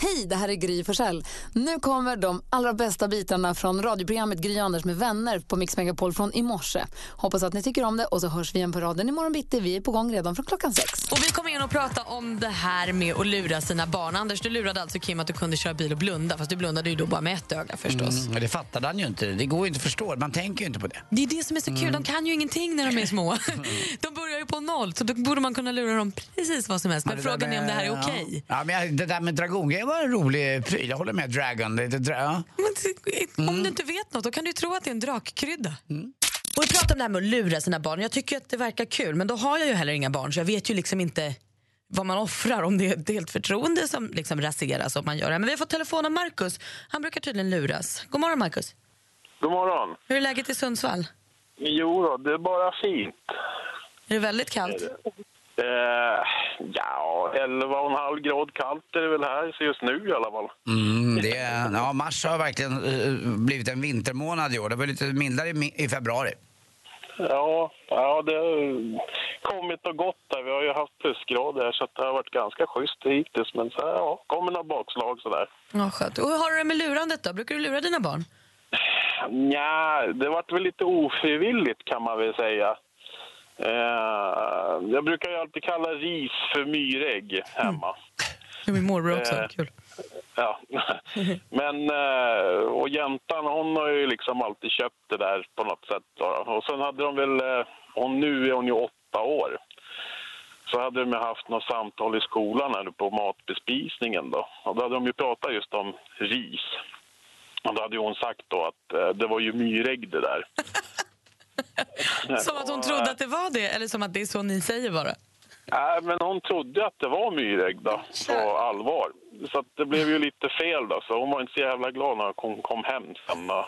Hej, det här är Gry Forssell. Nu kommer de allra bästa bitarna från radioprogrammet Gry Anders med vänner på Mix Megapol från i morse. Hoppas att ni tycker om det och så hörs vi igen på raden imorgon bitti. Vi är på gång redan från klockan sex. Och Vi kommer in och prata om det här med att lura sina barn. Anders, du lurade alltså Kim att du kunde köra bil och blunda. Fast du blundade ju då bara med ett öga förstås. Mm, men det fattade han ju inte. Det går ju inte att förstå. Man tänker ju inte på det. Det är det som är så kul. Mm. De kan ju ingenting när de är små. De börjar ju på noll, så då borde man kunna lura dem precis vad som helst. Men det frågan där är om det här är med- okej. Ja. Ja, men jag- det där med dragongrejen var en rolig pryl. Jag håller med. Dragon. Det, det, dra- ja. Men t- Om du inte vet något, då kan du ju tro att det är en drakkrydda. Och vi pratar om det här med att lura sina barn. Jag tycker att det verkar kul, men då har jag ju heller inga barn så jag vet ju liksom inte vad man offrar om det är ett helt förtroende som liksom raseras om man gör det. här. Men vi har fått telefon av Markus. Han brukar tydligen luras. God morgon Markus. God morgon. Hur är läget i Sundsvall? Jo då, det är bara fint. Är det väldigt kallt? Eh, ja, 11,5 grad kallt är det väl här så just nu i alla fall. Mm, det, ja, mars har verkligen eh, blivit en vintermånad i år. Det var lite mildare i, mi- i februari. Ja, ja, det har kommit och gått där. Vi har ju haft plusgrader här så att det har varit ganska schysst hittills. Men så här, ja, kommer några bakslag sådär. Ja, skönt. Och hur har du det med lurandet då? Brukar du lura dina barn? Nja, det vart väl lite ofrivilligt kan man väl säga. Eh, jag brukar ju alltid kalla ris för myrägg hemma. Det är Min morbror också. Eh. Kul. Ja. Men, eh, och jäntan hon har ju liksom alltid köpt det där på något sätt. då. Och sen hade de väl, eh, hon, nu är hon ju åtta år. Så hade de ju haft något samtal i skolan här på matbespisningen då. Och då hade de ju pratat just om ris. Och då hade ju hon sagt då att eh, det var ju myrägg det där. Som att hon trodde att det var det, eller som att det är så ni säger bara. Nej, men hon trodde att det var myrägg då, på allvar. Så att det blev ju lite fel då, så hon var inte så jävla glad när hon kom hem sen. då.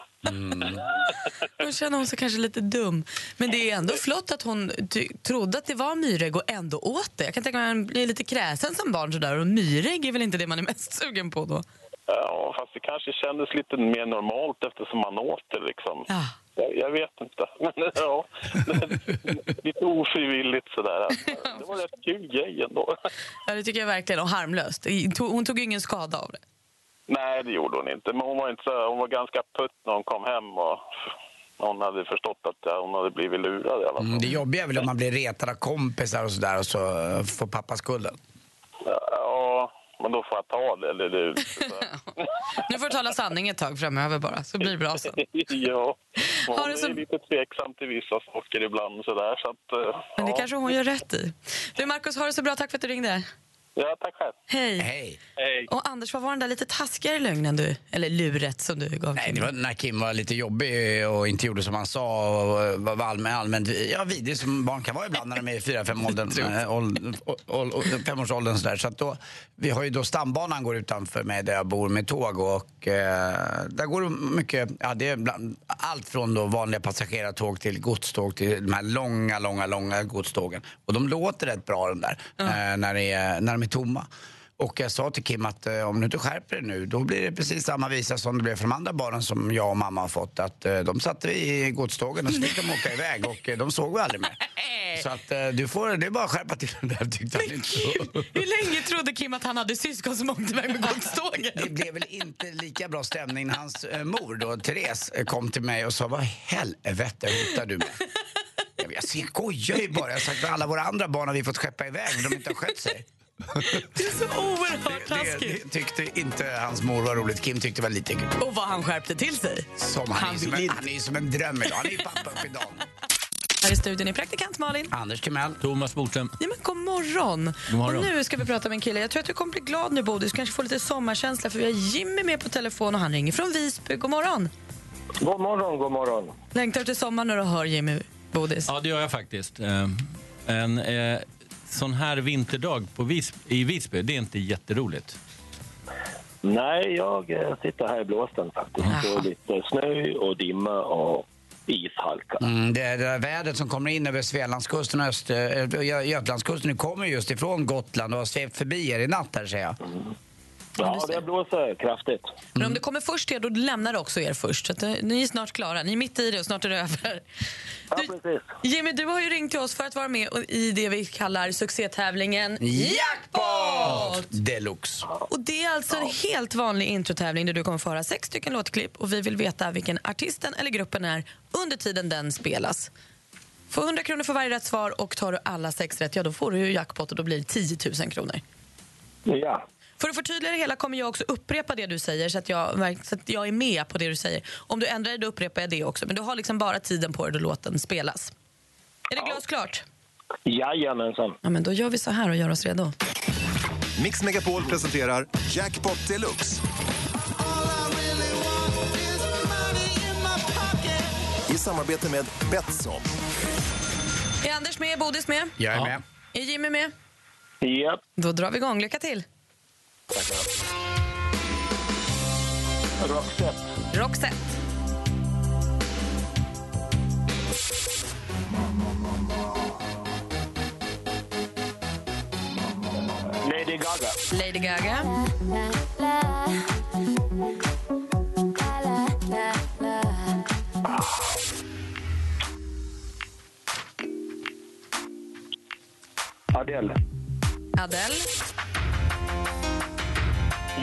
Då känner hon sig kanske lite dum. Men det är ändå flott att hon ty- trodde att det var myrägg och ändå åt det. Jag kan tänka mig att man blir lite kräsen som barn sådär och myrägg är väl inte det man är mest sugen på då? Ja, fast det kanske kändes lite mer normalt eftersom man åt det liksom. Ja. Jag, jag vet inte. Men ja, lite ofrivilligt sådär. Alltså, Det var rätt kul grej ändå. Ja, det tycker jag verkligen. Och harmlöst. Det to- Hon tog ju ingen skada av det. Nej, det gjorde hon inte. Men hon var, inte så, hon var ganska putt när hon kom hem och hon hade förstått att ja, hon hade blivit lurad i alla fall. Mm, det jobbiga är väl om man blir retad av kompisar och sådär och så eh, får pappa skulden. Ja, men då får jag ta det, eller hur? Nu får du tala sanning ett tag framöver bara, så blir det bra sen. ja, Har hon du som- är lite tveksam till vissa saker ibland sådär. Så att, eh, Men det ja. kanske hon gör rätt i. Du Markus, ha det så bra. Tack för att du ringde. Ja, tack själv. Hej. Hej! Hej. Och Anders, vad var den där lite taskigare lögnen du, eller luret som du gav? Nej, till det mig? var när Kim var lite jobbig och inte gjorde som han sa och var allmän, allmänt ja, vidrig som barn kan vara ibland när de är i eh, 4-5-årsåldern. femårsåldern sådär. Så att då, vi har ju då stambanan går utanför mig där jag bor med tåg och eh, där går det mycket, ja det är bland, allt från då vanliga passagerartåg till godståg till de här långa, långa, långa godstågen. Och de låter rätt bra de där eh, när, det är, när de är tomma. Och jag sa till Kim att eh, om du inte skärper dig nu då blir det precis samma visa som det blev för de andra barnen som jag och mamma har fått. Att eh, de satte i godstågen och så fick de åka iväg och eh, de såg vi aldrig mer. Så att eh, du får, det är bara att skärpa till det där tyckte han inte. så. Hur länge trodde Kim att han hade syskon som åkte iväg med godståget? Det blev väl inte lika bra stämning när hans eh, mor då, Therese, eh, kom till mig och sa vad i helvete hotar du med? Jag, jag skojar ju bara. Jag har sagt att alla våra andra barn har vi fått skeppa iväg för de inte har skött sig. Det är så oerhört Det, taskigt. det tyckte inte hans mor var roligt. Kim tyckte det var lite kul. Och vad han skärpte till sig. Som han, Han är som vill en, inte. han är ju som en dröm idag. Han är ju pappa upp idag. Här i studion är praktikant Malin. Anders Timell. Thomas Bodström. Ja, men god morgon. God morgon. Och nu ska vi prata med en kille. Jag tror att du kommer bli glad nu, Bodil. Du kanske får lite sommarkänsla, för vi har Jimmy med på telefon och han ringer från Visby. God morgon. God morgon, god morgon. Längtar efter sommaren när du hör Jimmy, Bodis. Ja, det gör jag faktiskt. Eh, En eh, sån här vinterdag på Vis- i Visby, det är inte jätteroligt. Nej, jag eh, sitter här i blåsten faktiskt. Jaha. Och lite snö och dimma och ishalka. Mm, det, det där vädret som kommer in över Svealandskusten och Öst, eh, Gö- Götalandskusten. Nu kommer just ifrån Gotland och har svept förbi er i natt här ser jag. Ja, det blåser kraftigt. Men om det kommer först er, då lämnar det också er först. Så att, eh, ni är snart klara. Ni är mitt i det och snart är det över. Ja, Du- precis. Jimmy, du har ju ringt till oss för att vara med och- i det vi kallar succétävlingen Jackpot! Deluxe. Och det är alltså en helt vanlig introtävling där du kommer få höra sex stycken låtklipp och vi vill veta vilken artisten eller gruppen är under tiden den spelas. Får 100 kronor för varje rätt svar och tar du alla sex rätt, ja då får du ju jackpot och då blir det 10 000 kronor. Ja. För att förtydliga det hela kommer jag också upprepa det du säger så att jag, verk- så att jag är med på det du säger. Om du ändrar dig då upprepar jag det också. Men du har liksom bara tiden på dig då låten spelas. Är det glasklart? Jajamensan. Ja, men då gör vi så här och gör oss redo. Mix Megapol presenterar Jackpot Deluxe. I samarbete med Betsson. Är Anders med? Är Bodis med? Jag är med. Är Jimmy med? Japp. Då drar vi igång. Lycka till! Roxette. Roxette. Lady Gaga. Lady Gaga. Adele. Adele.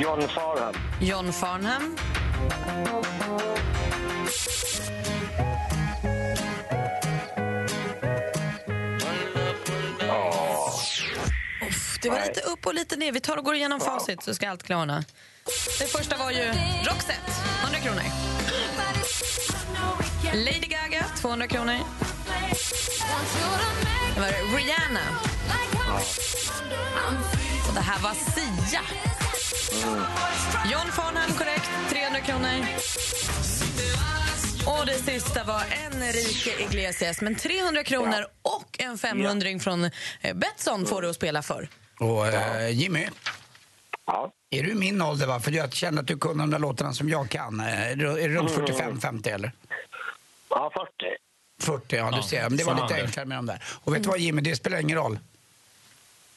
John Farham. John Farnham. Uff, det var lite upp och lite ner. Vi tar och går igenom facit så ska allt klarna. Det första var ju Roxette, 100 kronor. Lady Gaga, 200 kronor. Det var Rihanna. Och det här var Sia. John Farnham korrekt, 300 kronor. Och det sista var Enrique Iglesias, men 300 kronor och en 500 från eh, Betsson får du att spela för. Och eh, Jimmy, Ja. är du i min ålder? Va? För jag känner att du kunde de där låtarna som jag kan. Eh, Är du, är du runt 45-50 eller? Ja, 40. 40, ja du Ja, ser. Men det var som lite Anders. enklare med de där. Och vet du vad Jimmy, det spelar ingen roll.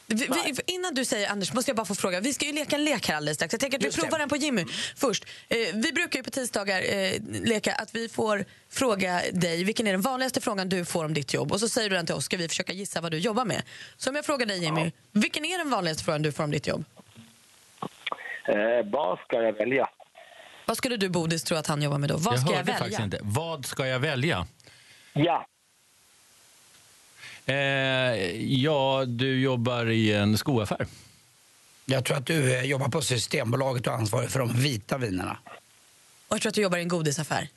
Vi, vi, innan du säger Anders, måste jag bara få fråga. Vi ska ju leka en lek här alldeles strax. Jag tänker att vi Just det. provar den på Jimmy först. Eh, vi brukar ju på tisdagar eh, leka att vi får fråga dig vilken är den vanligaste frågan du får om ditt jobb och så säger du den till oss ska vi försöka gissa vad du jobbar med. Så om jag frågar dig Jimmy, vilken är den vanligaste frågan du får om ditt jobb? Eh, vad ska jag välja? Vad skulle du Bodis tro att han jobbar med då? Vad ska hörde jag faktiskt välja? inte. Vad ska jag välja? Ja. Eh, ja, du jobbar i en skoaffär. Jag tror att du eh, jobbar på Systembolaget och är ansvarig för de vita vinerna. Och jag tror att du jobbar i en godisaffär.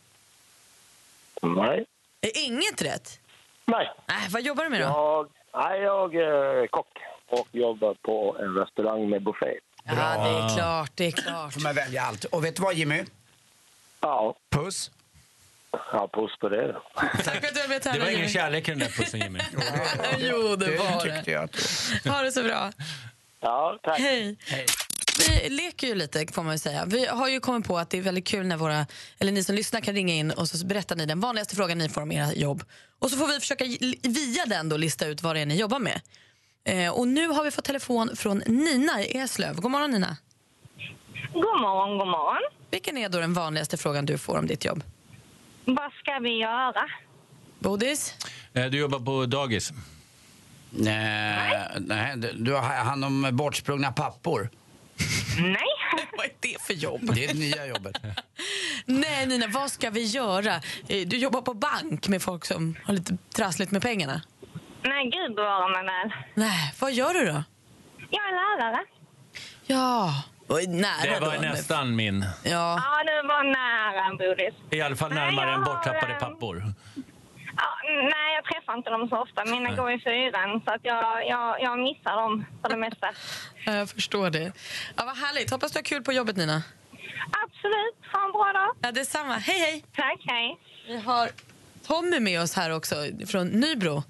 Nej. Är inget rätt? Nej. Nej, vad jobbar du med då? Jag, nej, jag är kock och jobbar på en restaurang med buffé. Ja, det är klart, det är klart. Får man välja allt. Och vet du vad Jimmy? Ja, Puss. ja puss på det. då. Tack för att du var med och Det var tävlade, ingen Jimmy. kärlek i den där pussen, Jimmy. Jo, det var det. tyckte jag. Att... Ha det så bra. Ja, tack. Hej. Vi leker ju lite får man ju säga. Vi har ju kommit på att det är väldigt kul när våra, eller ni som lyssnar kan ringa in och så berättar ni den vanligaste frågan ni får om era jobb. Och så får vi försöka li- via den då lista ut vad det är ni jobbar med. Eh, och nu har vi fått telefon från Nina i Eslöv. God morgon Nina. God morgon, god morgon. Vilken är då den vanligaste frågan du får om ditt jobb? Vad ska vi göra? Bodis? Eh, Du jobbar på dagis. Nej, nej, du- du har hand om bortsprungna pappor. Nej. Vad är det för jobb? Det är det nya jobbet. Nej Nina, vad ska vi göra? Eh, Du jobbar på bank med folk som har lite trassligt med pengarna. Nej, gud bevare mig väl. Nej, vad gör du då? Jag är lärare. Ja. Oj, Nära Det då, var men- nästan min. Ja. Ja, du var nära, Bodis. I alla fall Nej, närmare jag än har, borttappade eh, pappor. Ja, nej, jag träffar inte dem så ofta. Mina går i fyran, så att jag, jag, jag missar dem för det mesta. Ja, Jag förstår det. Ja, vad härligt. Hoppas du har kul på jobbet, Nina. Absolut. Ha en bra dag. Ja, detsamma. Hej, hej! Tack, hej. Vi har Tommy med oss här också, från Nybro.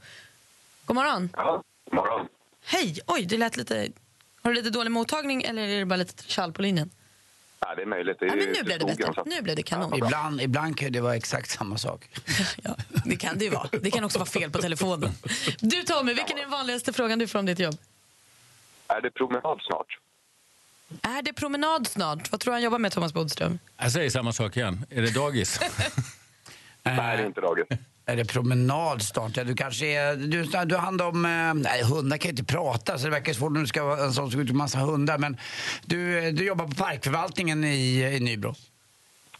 God morgon. Ja, morgon. Hej! Oj, det lät lite... Har du lite dålig mottagning eller är det bara lite tjall på linjen? Ja, det är möjligt. Det Ja, men nu blev det bättre. Nu blev det kanon. Ibland, ibland kan ju det vara exakt samma sak. Ja, det kan det ju vara. Det kan också vara fel på telefonen. Du, Tommy, vilken är den vanligaste frågan du får om ditt jobb? Är det promenad snart? Är det promenad snart? Vad tror du han jobbar med, Thomas Bodström? Jag säger samma sak igen. Är det dagis? Nej, det är inte dagis. Eh, Är det promenad snart? Ja, du kanske är... Du, du har hand om... eh, Nej, hundar kan ju inte prata så det verkar svårt när du ska vara en sån som går ut med massa hundar. Men du, eh, du jobbar på parkförvaltningen i, i Nybro.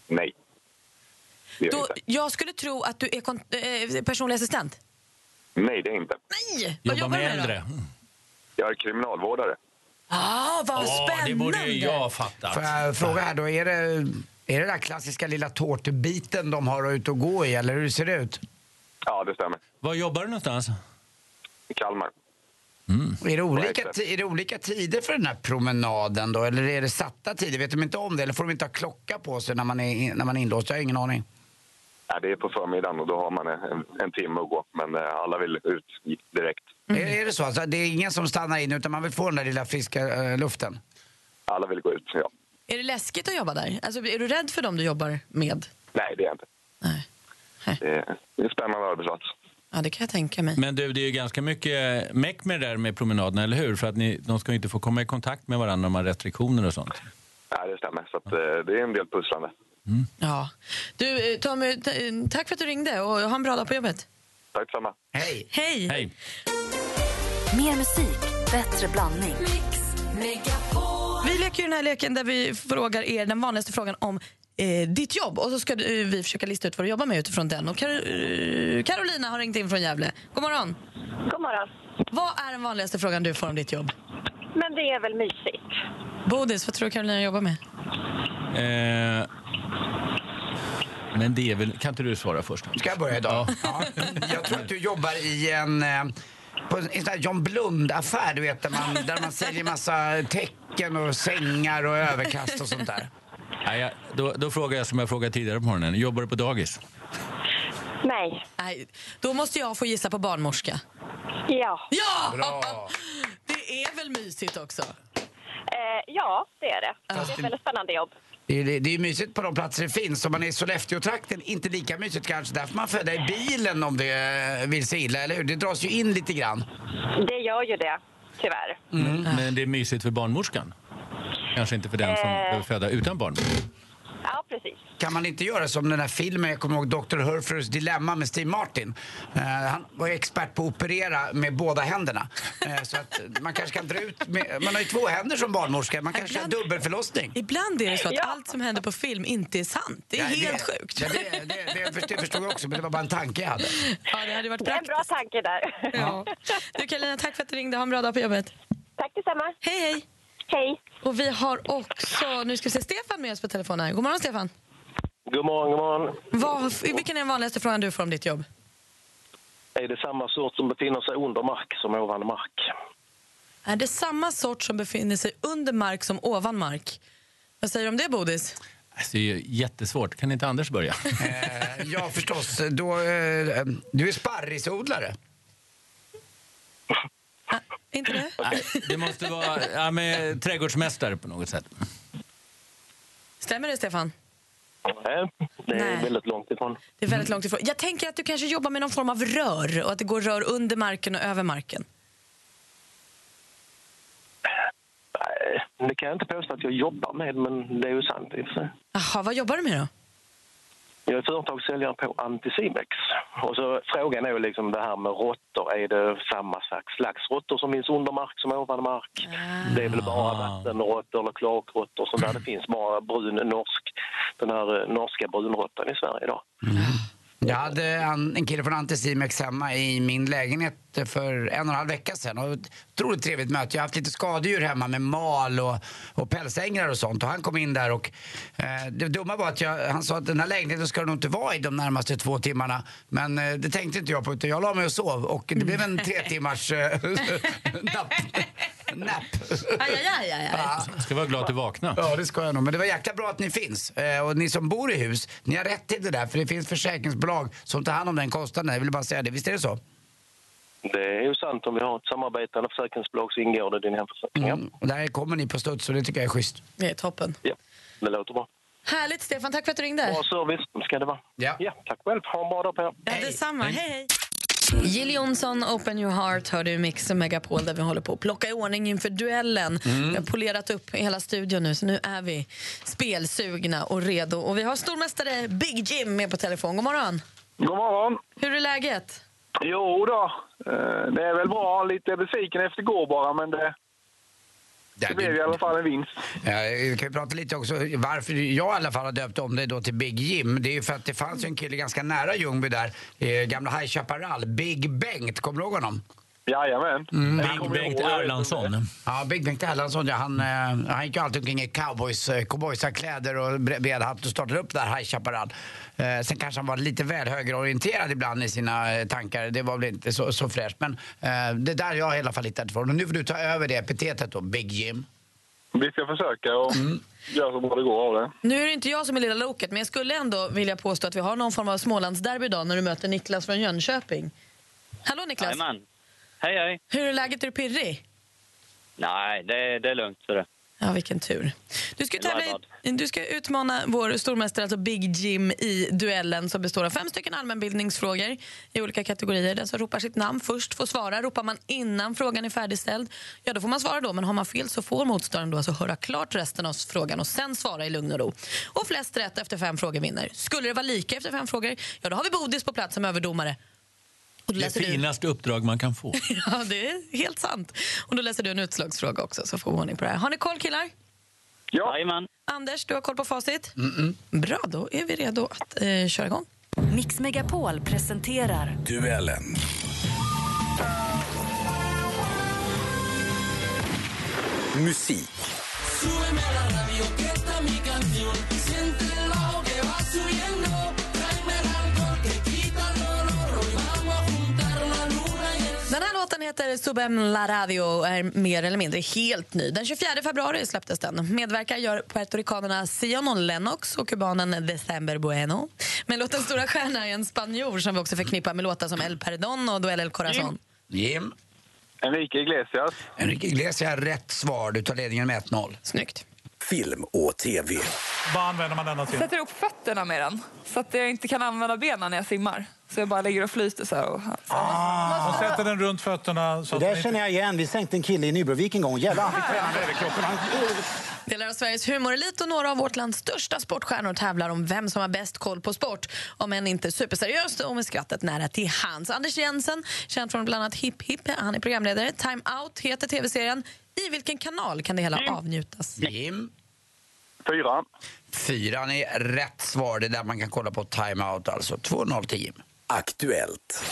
Nej. Det är det Då, inte. jag skulle tro att du är kon- eh, personlig assistent. Nej, det är inte. Nej! Vad Jobbar jobbar du med med äldre? då? Jag är kriminalvårdare. Ah, vad Ja, spännande! det borde ju jag Får fatta. jag fråga här då, är det, är det den där klassiska lilla tårtbiten de har ute och gå i eller hur ser det ut? Ja, det stämmer. Var jobbar du någonstans? I Kalmar. Är det, olika, exakt. ti- är det olika tider för den här promenaden då? Eller är det satta tider? Vet de inte om det? Eller får de inte ha klocka på sig när man är, in- när man är inlåst? Jag har ingen aning. Nej, det är på förmiddagen och då har man en, en timme att gå. Men eh, alla vill ut direkt. Är, är det så? Alltså, det är ingen som stannar in utan man vill få den där lilla friska eh, luften? Alla vill gå ut, ja. Är det läskigt att jobba där? Alltså, är du rädd för dem du jobbar med? Nej, det är jag inte. Nej. Det är, det är en spännande arbetsplats. Ja, det kan jag tänka mig. Men du, det är ju ganska mycket meck med det där med promenaderna, eller hur? För att ni, de ska ju inte få komma i kontakt med varandra om man har restriktioner och sånt. Nej, det stämmer. Så att, eh, det är en del pusslande. Ja. Du, eh, Tommy, t- eh, tack för att du ringde och ha en bra dag på jobbet. Tack detsamma. Hej! Hej! Hej! Mer musik, bättre blandning. Vi leker ju den här leken där vi frågar er den vanligaste frågan om eh, ditt jobb och så ska du, eh, vi försöka lista ut vad du jobbar med utifrån den. Och Kar- eh, Carolina har ringt in från Gävle. God morgon! God morgon. Vad är den vanligaste frågan du får om ditt jobb? Men det är väl mysigt? Bodis, vad tror du Carolina jobbar med? Eh, men det är väl... Kan inte du svara först? Ska jag börja idag? Ja. Jag tror att du jobbar i en... eh, På en sån här John Blund-affär, du vet, där man, där man säljer massa tecken och sängar och överkast och sånt där. Nej, jag, då, då frågar jag som jag frågade tidigare på morgonen. Jobbar du på dagis? Nej. Nej, då måste jag få gissa på barnmorska. Ja. Ja! Bra. Det är väl mysigt också? Eh, ja, det är det. Det är ett väldigt spännande jobb. Det är, det är ju mysigt på de platser det finns. Om man är i Sollefteå-trakten, inte lika mysigt kanske. Där får man föda i bilen om det eh, vill sig illa, eller hur? Det dras ju in lite grann. Det gör ju det, tyvärr. Mm. Men det är mysigt för barnmorskan? Kanske inte för den som Eh. behöver föda utan barn. Alltså, Ja, precis. Kan man inte göra som den här filmen, jag kommer ihåg Dr. Hurfurs dilemma med Steve Martin. Eh, han var ju expert på att operera med båda händerna. Eh, så att man kanske kan dra ut, med, man har ju två händer som barnmorska, man kanske kan Ibland- dubbelförlossning. Ibland är det så att Ja. allt som händer på film inte är sant. Det är Nej, helt sjukt. Ja, det, det, det, förstod, det förstod jag också, men det var bara en tanke jag hade. Ja, det hade varit Det är en praktiskt. bra tanke där. Ja. Du Carolina, tack för att du ringde. Ha en bra dag på jobbet. Tack detsamma. Hej, hej! Hej. Och vi har också, nu ska vi se Stefan med oss på telefonen. här. God morgon Stefan! God morgon, god morgon. Vad, vilken är den vanligaste frågan du får om ditt jobb? Är det samma sort som befinner sig under mark som ovan mark? Är det samma sort som befinner sig under mark som ovan mark? Vad säger du om det Bodis? Alltså, det är ju jättesvårt. Kan inte Anders börja? Eh, ja, förstås. Då, eh, du är sparrisodlare. Ah, inte det? Nej, det måste vara ja, men, trädgårdsmästare på något sätt. Stämmer det Stefan? Nej, det är Nej. väldigt långt ifrån. Det är väldigt långt ifrån. Jag tänker att du kanske jobbar med någon form av rör och att det går rör under marken och över marken. Nej, det kan jag inte påstå att jag jobbar med, men det är ju sant. i och för sig. Jaha, vad jobbar du med då? Jag är företagssäljare på Anticimex. Och så frågan är ju liksom det här med råttor. Är det samma slags, slags råttor som finns under mark som ovan mark? Det är väl bara vattenråttor eller kloakråttor. Sånt där. Det finns bara brun norsk, den här eh, norska brunråttan i Sverige idag. Jag hade en, en kille från Anticimex hemma i min lägenhet för en och en halv vecka sedan. Och ett otroligt trevligt möte. Jag har haft lite skadedjur hemma med mal och, och pälsängrar och sånt. Och han kom in där och eh, det dumma var att jag, han sa att den här lägenheten ska du nog inte vara i de närmaste två timmarna. Men eh, det tänkte inte jag på utan jag la mig och sov och det blev en tre timmars eh, napp. napp. Aj, aj, aj, aj, aj. Ska vara glad att du vaknade. Ja, det ska jag nog. Men det var jäkla bra att ni finns. Eh, och ni som bor i hus, ni har rätt till det där. För det finns försäkringsbolag som tar hand om den kostnaden. Jag vill bara säga det. Visst är det så? Det är ju sant. Om vi har ett samarbetande försäkringsbolag så ingår det i din hemförsäkring. Ja. Mm. Och där kommer ni på studs och det tycker jag är schysst. Det är toppen. Ja, det låter bra. Härligt Stefan, tack för att du ringde. Bra service ska det vara. Ja. Ja, tack själv. Ha en bra dag på er. Ja, detsamma. Hej, hej. Jill Johnson, Open Your Heart, hör du i Mix Megapol där vi håller på att plocka i ordning inför duellen. Vi har polerat upp hela studion nu, så nu är vi spelsugna och redo. Och vi har stormästare Big Jim med på telefon. God morgon! God morgon. Hur är läget? Jo då, eh, det är väl bra. Lite besviken efter går bara, men det, det blev i alla fall en vinst. Ja, vi kan ju prata lite också varför jag i alla fall har döpt om dig då till Big Jim. Det är ju för att det fanns ju en kille ganska nära Ljungby där, eh, gamla High Chaparral, Big Bengt. Kommer du ihåg honom? Jajamän. Jag Big kommer ihåg Bengt det, jag vet inte om det. Erlandsson. Ja, Big Bengt Erlandsson, ja, han, eh, han gick ju alltid omkring i cowboys, eh, cowboysarkläder och bre- bred hatt och startade upp där High Chaparral. Eh, sen kanske han var lite väl högerorienterad ibland i sina eh, tankar. Det var väl inte så, så fräscht. Men eh, det där jag i alla fall hittat ifrån. Och nu får du ta över det epitetet då, Big Jim. Vi ska försöka och Mm. göra så bra det går av det. Nu är det inte jag som är lilla loket, men jag skulle ändå vilja påstå att vi har någon form av Smålandsderby idag när du möter Niklas från Jönköping. Hallå Niklas! Jajamän. Hej, hej. Hur är läget? Är du pirrig? Nej, det, det är lugnt. Så det. Ja, vilken tur. Du ska, Jag är tävla i, du ska utmana vår stormästare, alltså Big Jim, i duellen som består av fem stycken allmänbildningsfrågor i olika kategorier. Den som ropar sitt namn först får svara. Ropar man innan frågan är färdigställd, ja då får man svara då. Men har man fel så får motståndaren då alltså höra klart resten av frågan och sen svara i lugn och ro. Och flest rätt efter fem frågor vinner. Skulle det vara lika efter fem frågor, ja då har vi Bodis på plats som överdomare. Och då Det läser du- finaste uppdrag man kan få. Ja, det är helt sant. Och då läser du en utslagsfråga också så får vi ordning på det här. Har ni koll killar? Ja. Jajamän. Anders, du har koll på facit? Bra, då är vi redo att eh, köra igång. Mix Megapol presenterar Duellen. Musik. Den här låten heter Subem La Radio och är mer eller mindre helt ny. Den 24 februari släpptes den. Medverkar gör puertoricanerna Sion Lennox och kubanen December Bueno. Men låtens stora stjärna är en spanjor som vi också förknippar med låtar som El Perdón och Duell El Corazon. Jim. Enrique Iglesias. Enrique Iglesias, rätt svar. Du tar ledningen med 1-0. Snyggt. Film och tv. Vad använder man denna till? sätter upp fötterna med den så att jag inte kan använda benen när jag simmar. Så jag bara ligger och flyter så här. Och, Man sätter den runt fötterna. Så att man inte... jag igen. Vi sänkte en kille i Nybrovik en gång. Jävlar, han fick träna över kroppen. Delar av Sveriges humorelit och några av vårt lands största sportstjärnor tävlar om vem som har bäst koll på sport. Om än inte superseriöst och med skrattet nära till hands. Anders Jensen, känd från bland annat Hipp Hipp, han är programledare. Time Out heter tv-serien. I vilken kanal kan det hela avnjutas? Jim. Fyra. Fyran är rätt svar. Det är där man kan kolla på timeout alltså. 2-0 till Jim. Aktuellt.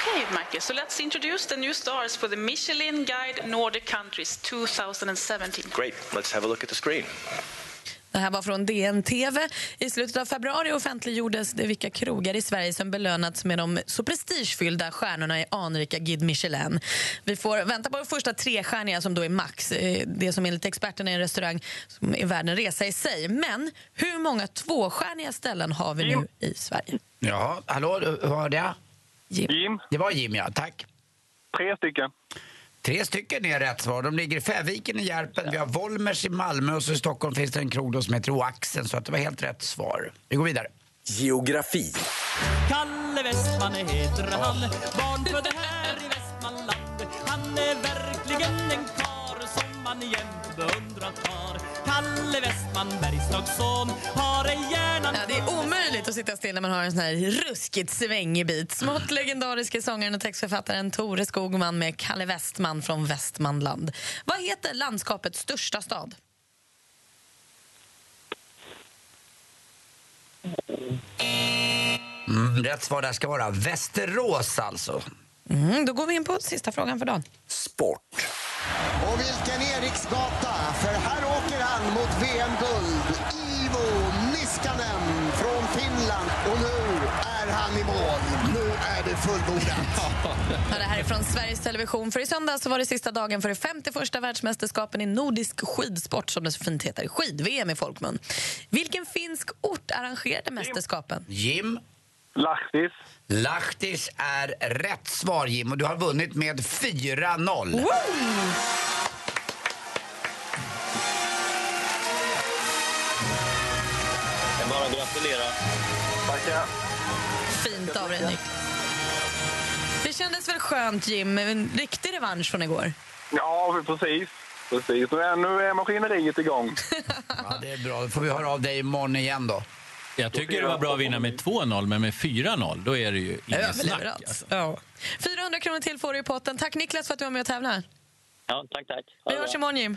Okej, Marcus. So let's introduce the new stars for the Michelin Guide Nordic Countries 2017. Great. Let's have a look at the screen. Det här var från DN TV. I slutet av februari offentliggjordes det vilka krogar i Sverige som belönats med de så prestigefyllda stjärnorna i anrika Guide Michelin. Vi får vänta på den första trestjärniga som då är max. Eh, Det som enligt experterna är en restaurang som är värd en resa i sig. Men hur många tvåstjärniga ställen har vi nu i Sverige? Jaha, hallå, hörde jag? Jim. Det var Jim, ja. Tack. Tre stycken. Tre stycken är rätt svar. De ligger i Fäviken i Järpen, vi har Volmers i Malmö och så i Stockholm finns det en krog då som heter Oaxen. Så att det var helt rätt svar. Vi går vidare. Geografi. Kalle Westman heter han, barnfödd här i Västmanland. Han är verkligen en karl som man igen beundrat har. Kalle Westman, Bergslagsson, har en hjärna... Ja, det är omöjligt att sitta still när man har en sån här ruskigt svängig bit. Smått legendariske sångaren och textförfattaren Tore Skogman med Kalle Westman från Västmanland. Vad heter landskapets största stad? Mm, rätt svar där ska vara Västerås alltså. Mm, då går vi in på sista frågan för dagen. Sport. Och vilken Eriksgata! För här åker han mot VM-guld. Ivo Niskanen från Finland. Och nu är han i mål. Nu är det fullbordat. Ja, det här är från Sveriges Television. För I söndags så var det sista dagen för det 51 världsmästerskapen i nordisk skidsport som det så fint heter, skid-VM i folkmun. Vilken finsk ort arrangerade mästerskapen? Jim, Lahtis. Lahtis är rätt svar Jim och du har vunnit med 4-0. Jag bara gratulera. Tackar. Fint av dig, Nick. Det kändes väl skönt, Jim? En riktig revansch från igår. Ja, precis. Precis. Nu är, nu är maskineriet igång. Ja, det är bra. Då får vi höra av dig imorgon igen då. Jag tycker det var bra att vinna med 2-0, men med 4-0 då är det ju inget snack. alltså. Överleverat. alltså. Ja. 400 kronor till får du i potten. Tack Niklas för att du var med och tävlade. Ja, tack, tack. Vi hörs imorgon, Jim.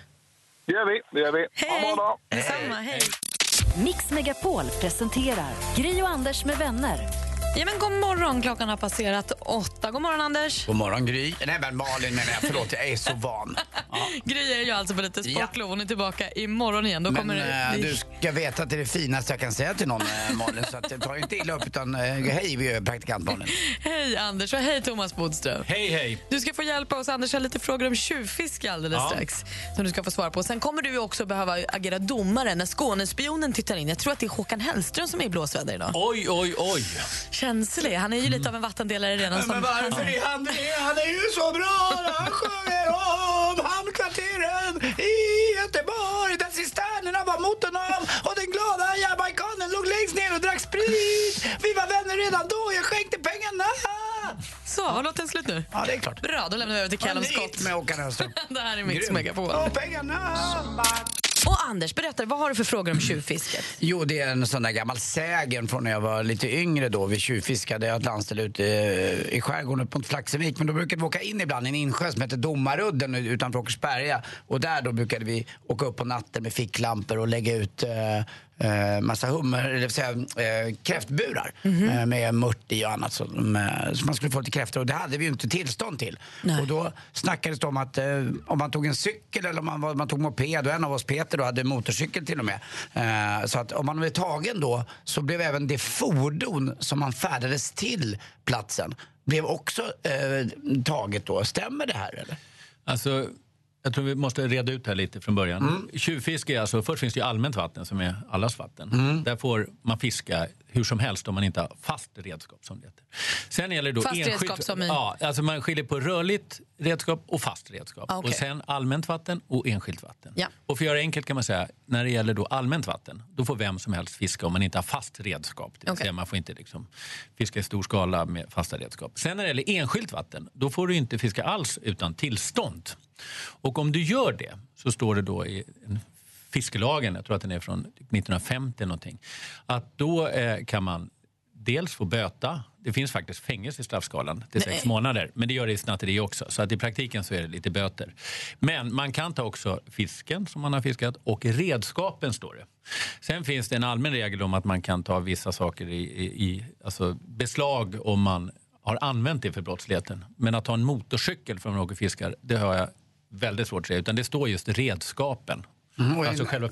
Det gör vi. Det gör vi. Hej! Detsamma, hej. Mix Megapol presenterar Gri och Anders med vänner. Ja, men god morgon, klockan har passerat åtta. God morgon, Anders. God morgon Gry. Nej men Malin menar jag. Förlåt, jag är så van. Gry är ju alltså på lite sportlov. Hon är tillbaka imorgon igen. Då kommer Men eh, det... du ska veta att det är det finaste jag kan säga till någon eh, Malin. Så att, eh, ta inte illa upp utan eh, hej vi är praktikant Malin. Hej, Anders och hej, Thomas Bodström. Hej, hej. Du ska få hjälpa oss. Anders har lite frågor om tjuvfiske alldeles Ja. strax. Som du ska få svara på. Sen kommer du ju också behöva agera domare när Skånespionen tittar in. Jag tror att det är Håkan Hellström som är i blåsväder idag. Oj, oj, oj. Känslig. Han är ju lite av en vattendelare redan. som... han det? Han är ju så bra! Han sjunger om hamnkvarteren i Göteborg där cisternerna var mot honom och den glada jamaikanen låg längst ner och drack sprit. Vi var vänner redan då, jag skänkte pengarna. Så, har låten slut nu? Ja, det är klart. Bra, då lämnar vi över till Callum Scott. med Håkan Hellström. Det här är Mix Grymt. Megapol. Och pengarna! Och Anders, berätta, vad har du för frågor om tjuvfisket? Jo, det är en sån där gammal sägen från när jag var lite yngre då. Vi tjuvfiskade, jag hade ett landställe ute eh, i skärgården upp mot Flaxevik. Men då brukade vi åka in ibland i en insjö som heter Domarudden utanför Åkersberga. Och där då brukade vi åka upp på natten med ficklampor och lägga ut eh, eh, massa hummer, eller säga, eh, kräftburar Mhm. eh, med mört i och annat som, eh, som man skulle få lite kräftor och det hade vi ju inte tillstånd till. Och då snackades det om att eh, om man tog en cykel eller om man, var- man tog moped och en av oss Peter då hade motorcykel till och med. Eh, så att om man blev tagen då så blev även det fordon som man färdades till platsen blev också eh, taget då. Stämmer det här eller? Alltså, jag tror vi måste reda ut det här lite från början. Tjuvfiske är alltså, först finns det ju allmänt vatten som är allas vatten. Där får man fiska hur som helst om man inte har fast redskap som det heter. Sen gäller det då Fast enskilt- redskap som i- Ja, alltså man skiljer på rörligt redskap och fast redskap. Ah, okej. Och sen allmänt vatten och enskilt vatten. Ja. Och för att göra det enkelt kan man säga, när det gäller då allmänt vatten, då får vem som helst fiska om man inte har fast redskap. Det vill Okej. säga man får inte liksom fiska i stor skala med fasta redskap. Sen när det gäller enskilt vatten, då får du inte fiska alls utan tillstånd. Och om du gör det, så står det då i en fiskelagen, jag tror att den är från typ 1950 någonting, att då eh, kan man dels få böta, det finns faktiskt fängelse i straffskalan till Nej. sex månader, men det gör det i snatteri också, så att i praktiken så är det lite böter. Men man kan ta också fisken som man har fiskat och redskapen står det. Sen finns det en allmän regel om att man kan ta vissa saker i, i, i alltså beslag om man har använt det för brottsligheten. Men att ta en motorcykel från någon och fiskar, det har jag väldigt svårt att säga, utan det står just redskapen. Mm, och alltså en- själva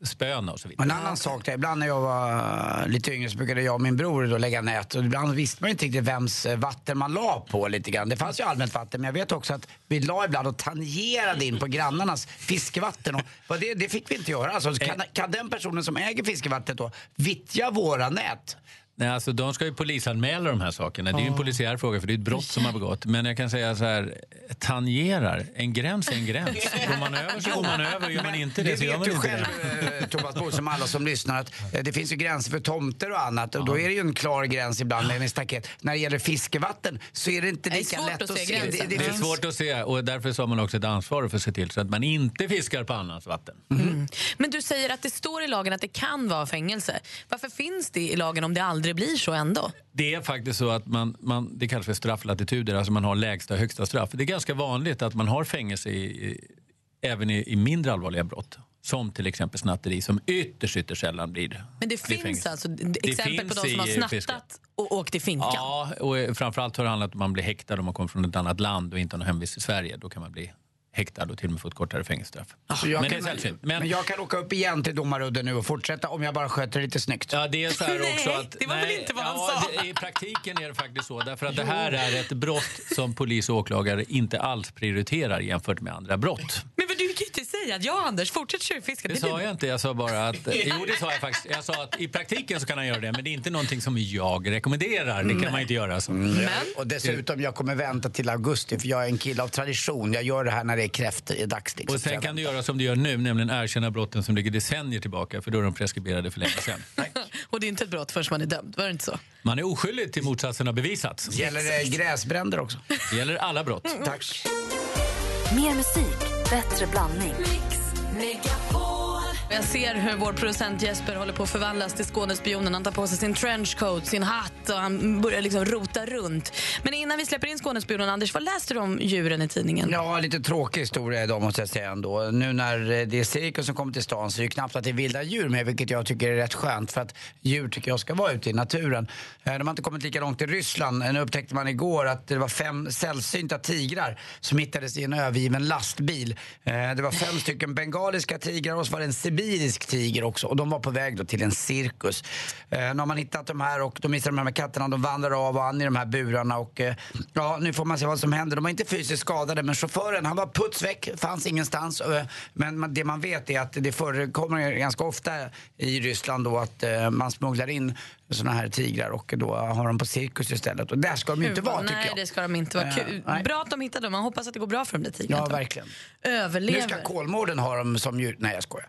fiskespöna och så Och vidare. en annan sak, där, ibland när jag var lite yngre så brukade jag och min bror då lägga nät och ibland visste man inte riktigt vems eh, vatten man la på lite grann. Det fanns ju allmänt vatten men jag vet också att vi la ibland och tangerade in på grannarnas fiskevatten och vad det, det fick vi inte göra. Alltså, kan, kan den personen som äger fiskevattnet då vittja våra nät? Nej, alltså, de ska ju polisanmäla de här sakerna. Det är ju en polisiär fråga för det är ett brott som har begått. Men jag kan säga så här, tangerar. En gräns är en gräns. Går man över så går man över. Gör man inte det Det så gör vet man du inte själv det. eh, Thomas Bodström, som alla som lyssnar att eh, det finns ju gränser för tomter och annat och då är det ju en klar gräns ibland med en staket. När det gäller fiskevatten så är det inte Det är lika svårt lätt att att, se se. gränsen. Det är finns- svårt att se och därför så har man också ett ansvar för att se till så att man inte fiskar på annans vatten. Mm. Men du säger att det står i lagen att det kan vara fängelse. Varför finns det i lagen om det aldrig blir så ändå? Det är faktiskt så att man, man det kallas för strafflatituder, alltså man har lägsta och högsta straff. Det är ganska vanligt att man har fängelse i, i, även i, i mindre allvarliga brott. Som till exempel snatteri som ytterst, ytterst sällan blir Men det, blir finns fängelse. alltså Det exempel på finns de som har i fiske. snattat och åkt i finkan. Ja, och eh, framförallt har det handlat om att man blir häktad om man kommer från ett annat land och inte har någon hemvist i Sverige. Då kan man bli häktad och till och med få ett kortare fängelsestraff. Så Alltså, jag Men det kan, är sällsynt. men, jag kan åka upp igen till domarudden nu och fortsätta om jag bara sköter det lite snyggt. Ja, det är så här också att, nej, ja, sa. Det, I praktiken är det faktiskt så. Därför att det här är ett brott som polis och åklagare inte alls prioriterar jämfört med andra brott. Men, men du kan ju inte säga att jag och Anders fortsätter tjuvfiska. Det sa jag inte. Jag sa bara att... Jo, det sa jag faktiskt. Jag sa att i praktiken så kan han göra det, men det är inte någonting som jag rekommenderar. Det kan man inte göra. Så. Eh, Och dessutom, jag kommer vänta till augusti för jag är en kille av tradition. Jag gör det här när det är kräftor i dags. Liksom. Och sen kan du göra som du gör nu, nämligen erkänna brotten som ligger decennier tillbaka, för då är de preskriberade för länge sedan. Och det är inte ett brott förrän man är dömd, var det inte så? Man är oskyldig till motsatsen har bevisats. Gäller det gräsbränder också? gäller alla brott. Tack. Mer musik, bättre blandning. Jag ser hur vår producent Jesper håller på att förvandlas till Skånespionen. Han tar på sig sin trenchcoat, sin hatt och han börjar liksom rota runt. Men innan vi släpper in Skånespionen, Anders, vad läste du om djuren i tidningen? Ja, lite tråkig historia idag måste jag säga ändå. Nu när eh, det är cirkus som kommer till stan så är det ju knappt att det är vilda djur med, vilket jag tycker är rätt skönt för att djur tycker jag ska vara ute i naturen. Eh, De har inte kommit lika långt i Ryssland. Eh, Nu upptäckte man igår att det var fem sällsynta tigrar som hittades i en övergiven lastbil. Eh, Det var fem stycken bengaliska tigrar och så var det en sibirisk tiger också och de var på väg då till en cirkus. Eh, Nu har man hittat de här och de missar de här med katterna, de vandrar av och an i de här burarna och eh, ja, nu får man se vad som händer. De var inte fysiskt skadade men chauffören han var putsväck, fanns ingenstans. Eh, Men man- det man vet är att det förekommer ganska ofta i Ryssland då att eh, man smugglar in såna här tigrar och då har de på cirkus istället. Och där ska de ju inte Kuba. vara tycker Nej, jag. det ska de inte vara. Eh, Kul. nej. Bra att de hittade dem. Man hoppas att det går bra för dem, det tigern. Ja, att de verkligen. Överlever. Nu ska Kolmården ha dem som djur. Nej, jag skojar.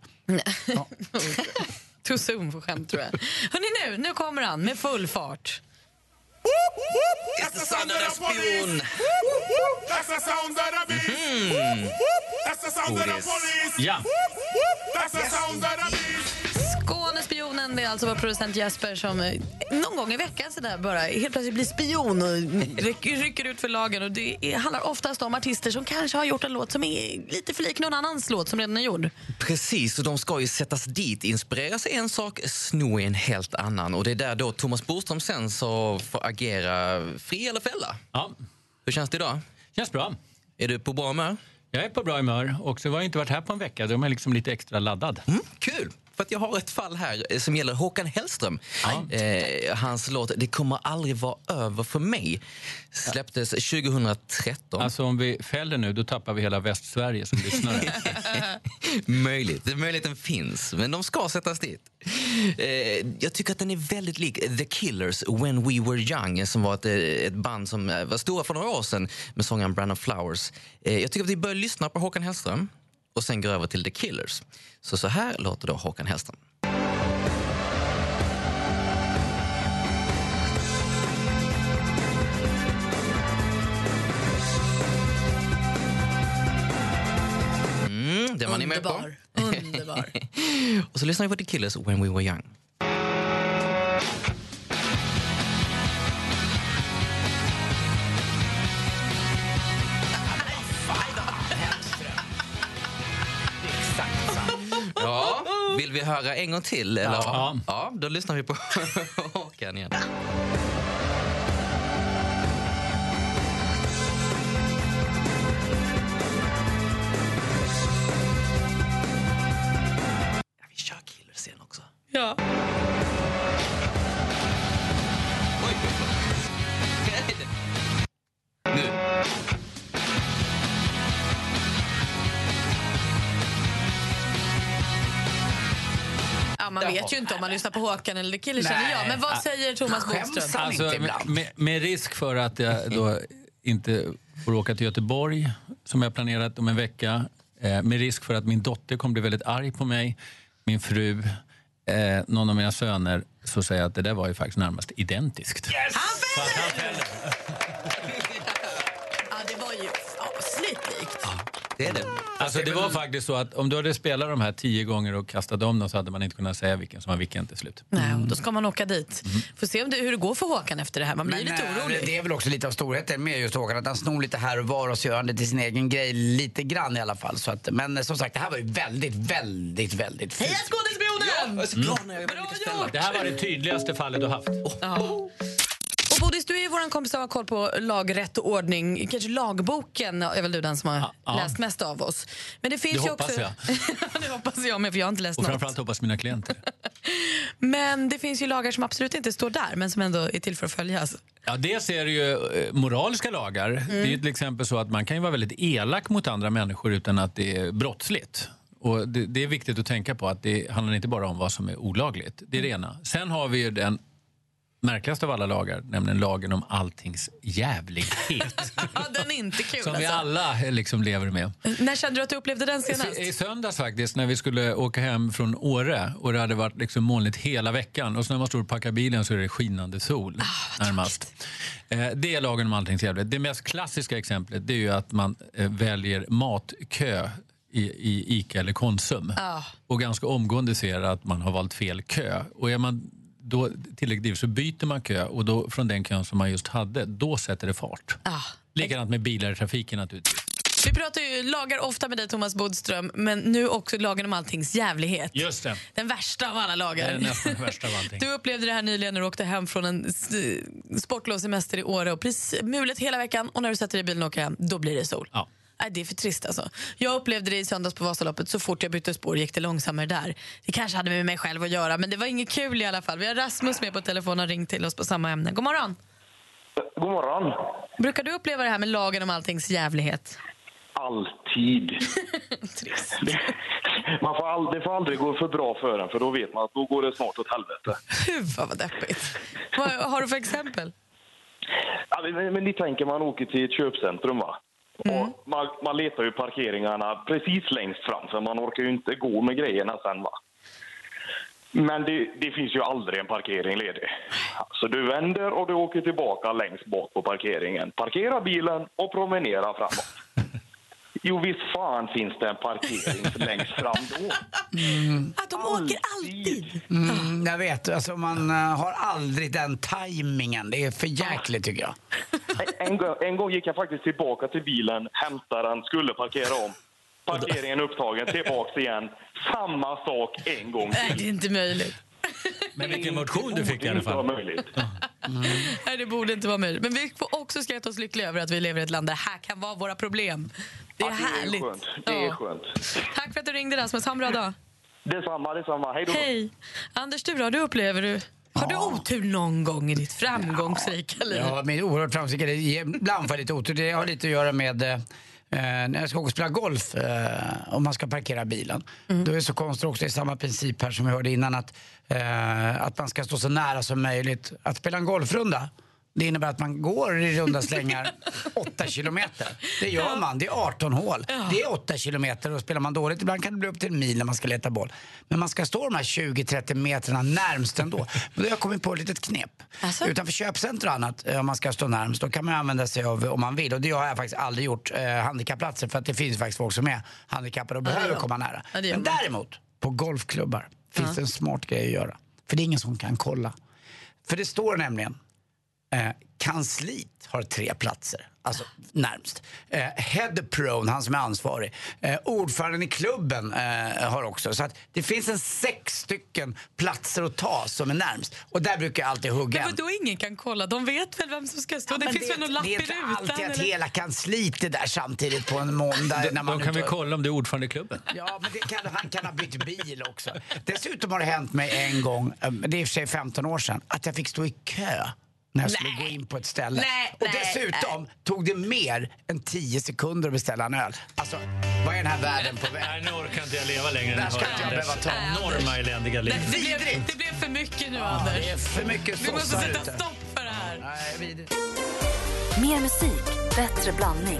Too soon för skämt, tror jag. Hörrni, nu, nu kommer han med full fart. That's the sound of the spion. That's the sound of the beast. That's the sound of the Godis. police. Ja. That's the sound of the beast. Skånespionen, det är alltså vår producent Jesper som eh, någon gång i veckan så där bara helt plötsligt blir spion och ryck- rycker ut för lagen. Och det är, handlar oftast om artister som kanske har gjort en låt som är lite för lik någon annans låt som redan är gjord. Precis, och de ska ju sättas dit, inspireras i en sak, sno i en helt annan. Och det är där då Thomas Boström sen så får agera fri eller fälla. Ja. Hur känns det idag? Känns bra. Är du på bra humör? Jag är på bra humör och så har jag inte varit här på en vecka. Då är man liksom lite extra laddad. Mm. Kul! För att jag har ett fall här eh, som gäller Håkan Hellström. Eh, hans låt Det kommer aldrig vara över för mig släpptes 2013. Alltså om vi fäller nu, då tappar vi hela Västsverige som lyssnare. Möjligt. Den Möjligheten finns, men de ska sättas dit. Eh, jag tycker att den är väldigt lik The Killers When We Were Young som var ett, eh, ett band som eh, var stora för några år sedan med sångaren Brandon Flowers. Eh, jag tycker att vi börjar lyssna på Håkan Hellström och sen går över till The Killers. Så så här låter då Håkan Hellström. Mm, den var ni med på. Underbar. och så lyssnar vi på The Killers When We Were Young. Ja, vill vi höra en gång till? Eller? Ja. ja. Då lyssnar vi på Håkan igen. Ja. Ja, man vet ju inte om man lyssnar på Håkan eller The Killers. känner jag. Men Ah. vad säger Thomas Bodström? Alltså, med, med, med risk för att jag då inte får åka till Göteborg som jag planerat om en vecka. Eh, med risk för att min dotter kommer bli väldigt arg på mig, min fru, eh, någon av mina söner. Så säger jag att det där var ju faktiskt närmast identiskt. Ja, det var ju fasligt likt. Det är det. Alltså, det var faktiskt så att om du hade spelat de här tio gånger och kastat om dem så hade man inte kunnat säga vilken som var vilken till slut. Nej, och då ska man åka dit. Mm. Får se om det, hur det går för Håkan efter det här. Man blir lite eh, orolig. Det är väl också lite av storheten med just Håkan, att han snor lite här och var och så gör han det till sin egen grej lite grann i alla fall. Så att, men eh, som sagt, det här var ju väldigt, väldigt, väldigt fult. Heja skådespionen! Jag är så glad när jag lyckas ställa. Det här var det tydligaste fallet du haft. Ja. Och Bodis, du är ju vår kompis som har koll på lagrätt och ordning. Kanske lagboken är väl du den som har ja. läst mest av oss. Men det finns Det ju hoppas också... jag. det hoppas jag med, för jag har inte läst Och något. framförallt hoppas mina klienter. Men det finns ju lagar som absolut inte står där, men som ändå är till för att följas. Ja, dels är det ju eh, moraliska lagar. Mm. Det är ju till exempel så att man kan ju vara väldigt elak mot andra människor utan att det är brottsligt. Och det, det är viktigt att tänka på att det handlar inte bara om vad som är olagligt. Det är det ena. Sen har vi ju den märkligaste av alla lagar, nämligen lagen om alltings jävlighet. Den är inte kul som vi alltså. alla eh, liksom lever med. När kände du att du upplevde den senast? Alltså, I söndags faktiskt, när vi skulle åka hem från Åre och det hade varit liksom molnigt hela veckan och så när man står och packar bilen så är det skinande sol närmast. Eh, det är lagen om alltings jävlighet. Det mest klassiska exemplet det är ju att man eh, väljer matkö i, i Ica eller Konsum Ja. och ganska omgående ser att man har valt fel kö. Och är man då tillräckligt driv så byter man kö och då från den kön som man just hade, då sätter det fart. Ah. Likadant med bilar i trafiken naturligtvis. Vi pratar ju lagar ofta med dig Thomas Bodström, men nu också lagen om alltings jävlighet. Just det. Den värsta av alla Det är lagar. nästan det värsta av allting. Du upplevde det här nyligen när du åkte hem från en s- sportlovssemester i Åre och precis mulet hela veckan och när du sätter dig i bilen och åker hem, då blir det sol. Ja. Nej, det är för trist alltså. Jag upplevde det i söndags på Vasaloppet. Så fort jag bytte spår gick det långsammare där. Det kanske hade med mig själv att göra, men det var inget kul i alla fall. Vi har Rasmus med på telefonen och ringt till oss på samma ämne. God morgon! God morgon. Brukar du uppleva det här med lagen om alltings jävlighet? Alltid. Det, man får all, det får aldrig gå för bra för en, för då vet man att då går det snart åt helvete. Gud, vad deppigt. Vad har du för exempel? Ja, men, men ni tänker man åker till ett köpcentrum, va? Och man, man letar ju parkeringarna precis längst fram, för man orkar ju inte gå med grejerna sen. va? Men det, det finns ju aldrig en parkering ledig. Så du vänder och du åker tillbaka längst bak på parkeringen. Parkera bilen och promenera framåt. Jo, visst fan finns det en parkering längst fram då. Att de åker alltid! Mm, jag vet, alltså man eh, har aldrig den tajmingen. Det är för jäkligt tycker jag. En, gång- en gång gick jag faktiskt tillbaka till bilen, hämtade den, skulle parkera om. Parkeringen upptagen, tillbaks igen. Samma sak en gång Nej, till. det är inte möjligt. Men Mm. vilken motion du fick i alla fall. Nej, det borde inte vara möjligt. Men vi får också skratta oss lyckliga över att vi lever i ett land där det här kan vara våra problem. Det är härligt. skönt. Det är Ja. skönt. Tack för att du ringde, Rasmus. Ha en bra dag. Detsamma, detsamma. Hej då. Hej. Anders, du då? Du upplever du... Har du otur någon gång i ditt framgångsrika liv? Ja, min oerhört framgångsrika det ger- Ibland får jag lite otur. Det har lite att göra med eh, när jag ska åka och spela golf, eh, om man ska parkera bilen. Då är det så konstigt också, det är samma princip här som vi hörde innan, att, eh, att man ska stå så nära som möjligt. Att spela en golfrunda, det innebär att man går i runda slängar 8 kilometer. Det gör man, det är 18 hål. Det är 8 kilometer och spelar man dåligt, ibland kan det bli upp till en mil när man ska leta boll. Men man ska stå de här 20-30 metrarna närmst ändå. Men då har jag kommit på ett litet knep. Alltså? Utanför köpcentrum och annat, eh, om man ska stå närmst, då kan man använda sig av, om man vill, och det har jag faktiskt aldrig gjort, eh, handikappplatser för att det finns faktiskt folk som är handikappade och behöver komma nära. Ja, det gör Men man. däremot, på golfklubbar finns det en smart grej att göra. För det är ingen som kan kolla. För det står nämligen, eh, kansliet har tre platser. Alltså närmst. Eh, head prone, han som är ansvarig. Eh, ordföranden i klubben eh, har också. Så att det finns en sex stycken platser att ta som är närmst. Och där brukar jag alltid hugga Men en. vadå, ingen kan kolla? De vet väl vem som ska stå? Ja, det men finns väl någon lapp Det i är inte alltid rutan? att eller? hela kansliet är där samtidigt på en måndag. Då- när Då man kan ute vi och- kolla om du är ordförande i klubben. Ja, men det kan, han kan ha bytt bil också. Dessutom har det hänt mig en gång, eh, det är i och för sig 15 år sedan, att jag fick stå i kö när jag skulle gå in på ett ställe. Nej, och nej, dessutom tog det mer än 10 sekunder att beställa en öl. Alltså, vad är den här världen på väg? Nej, nu orkar inte jag leva längre. Där ska inte jag behöva ta. Enorma eländiga liv. Det blev, det blev för mycket nu, Anders. det är för mycket Du måste sossar sätta ute. stopp för det här. Mer musik, bättre blandning.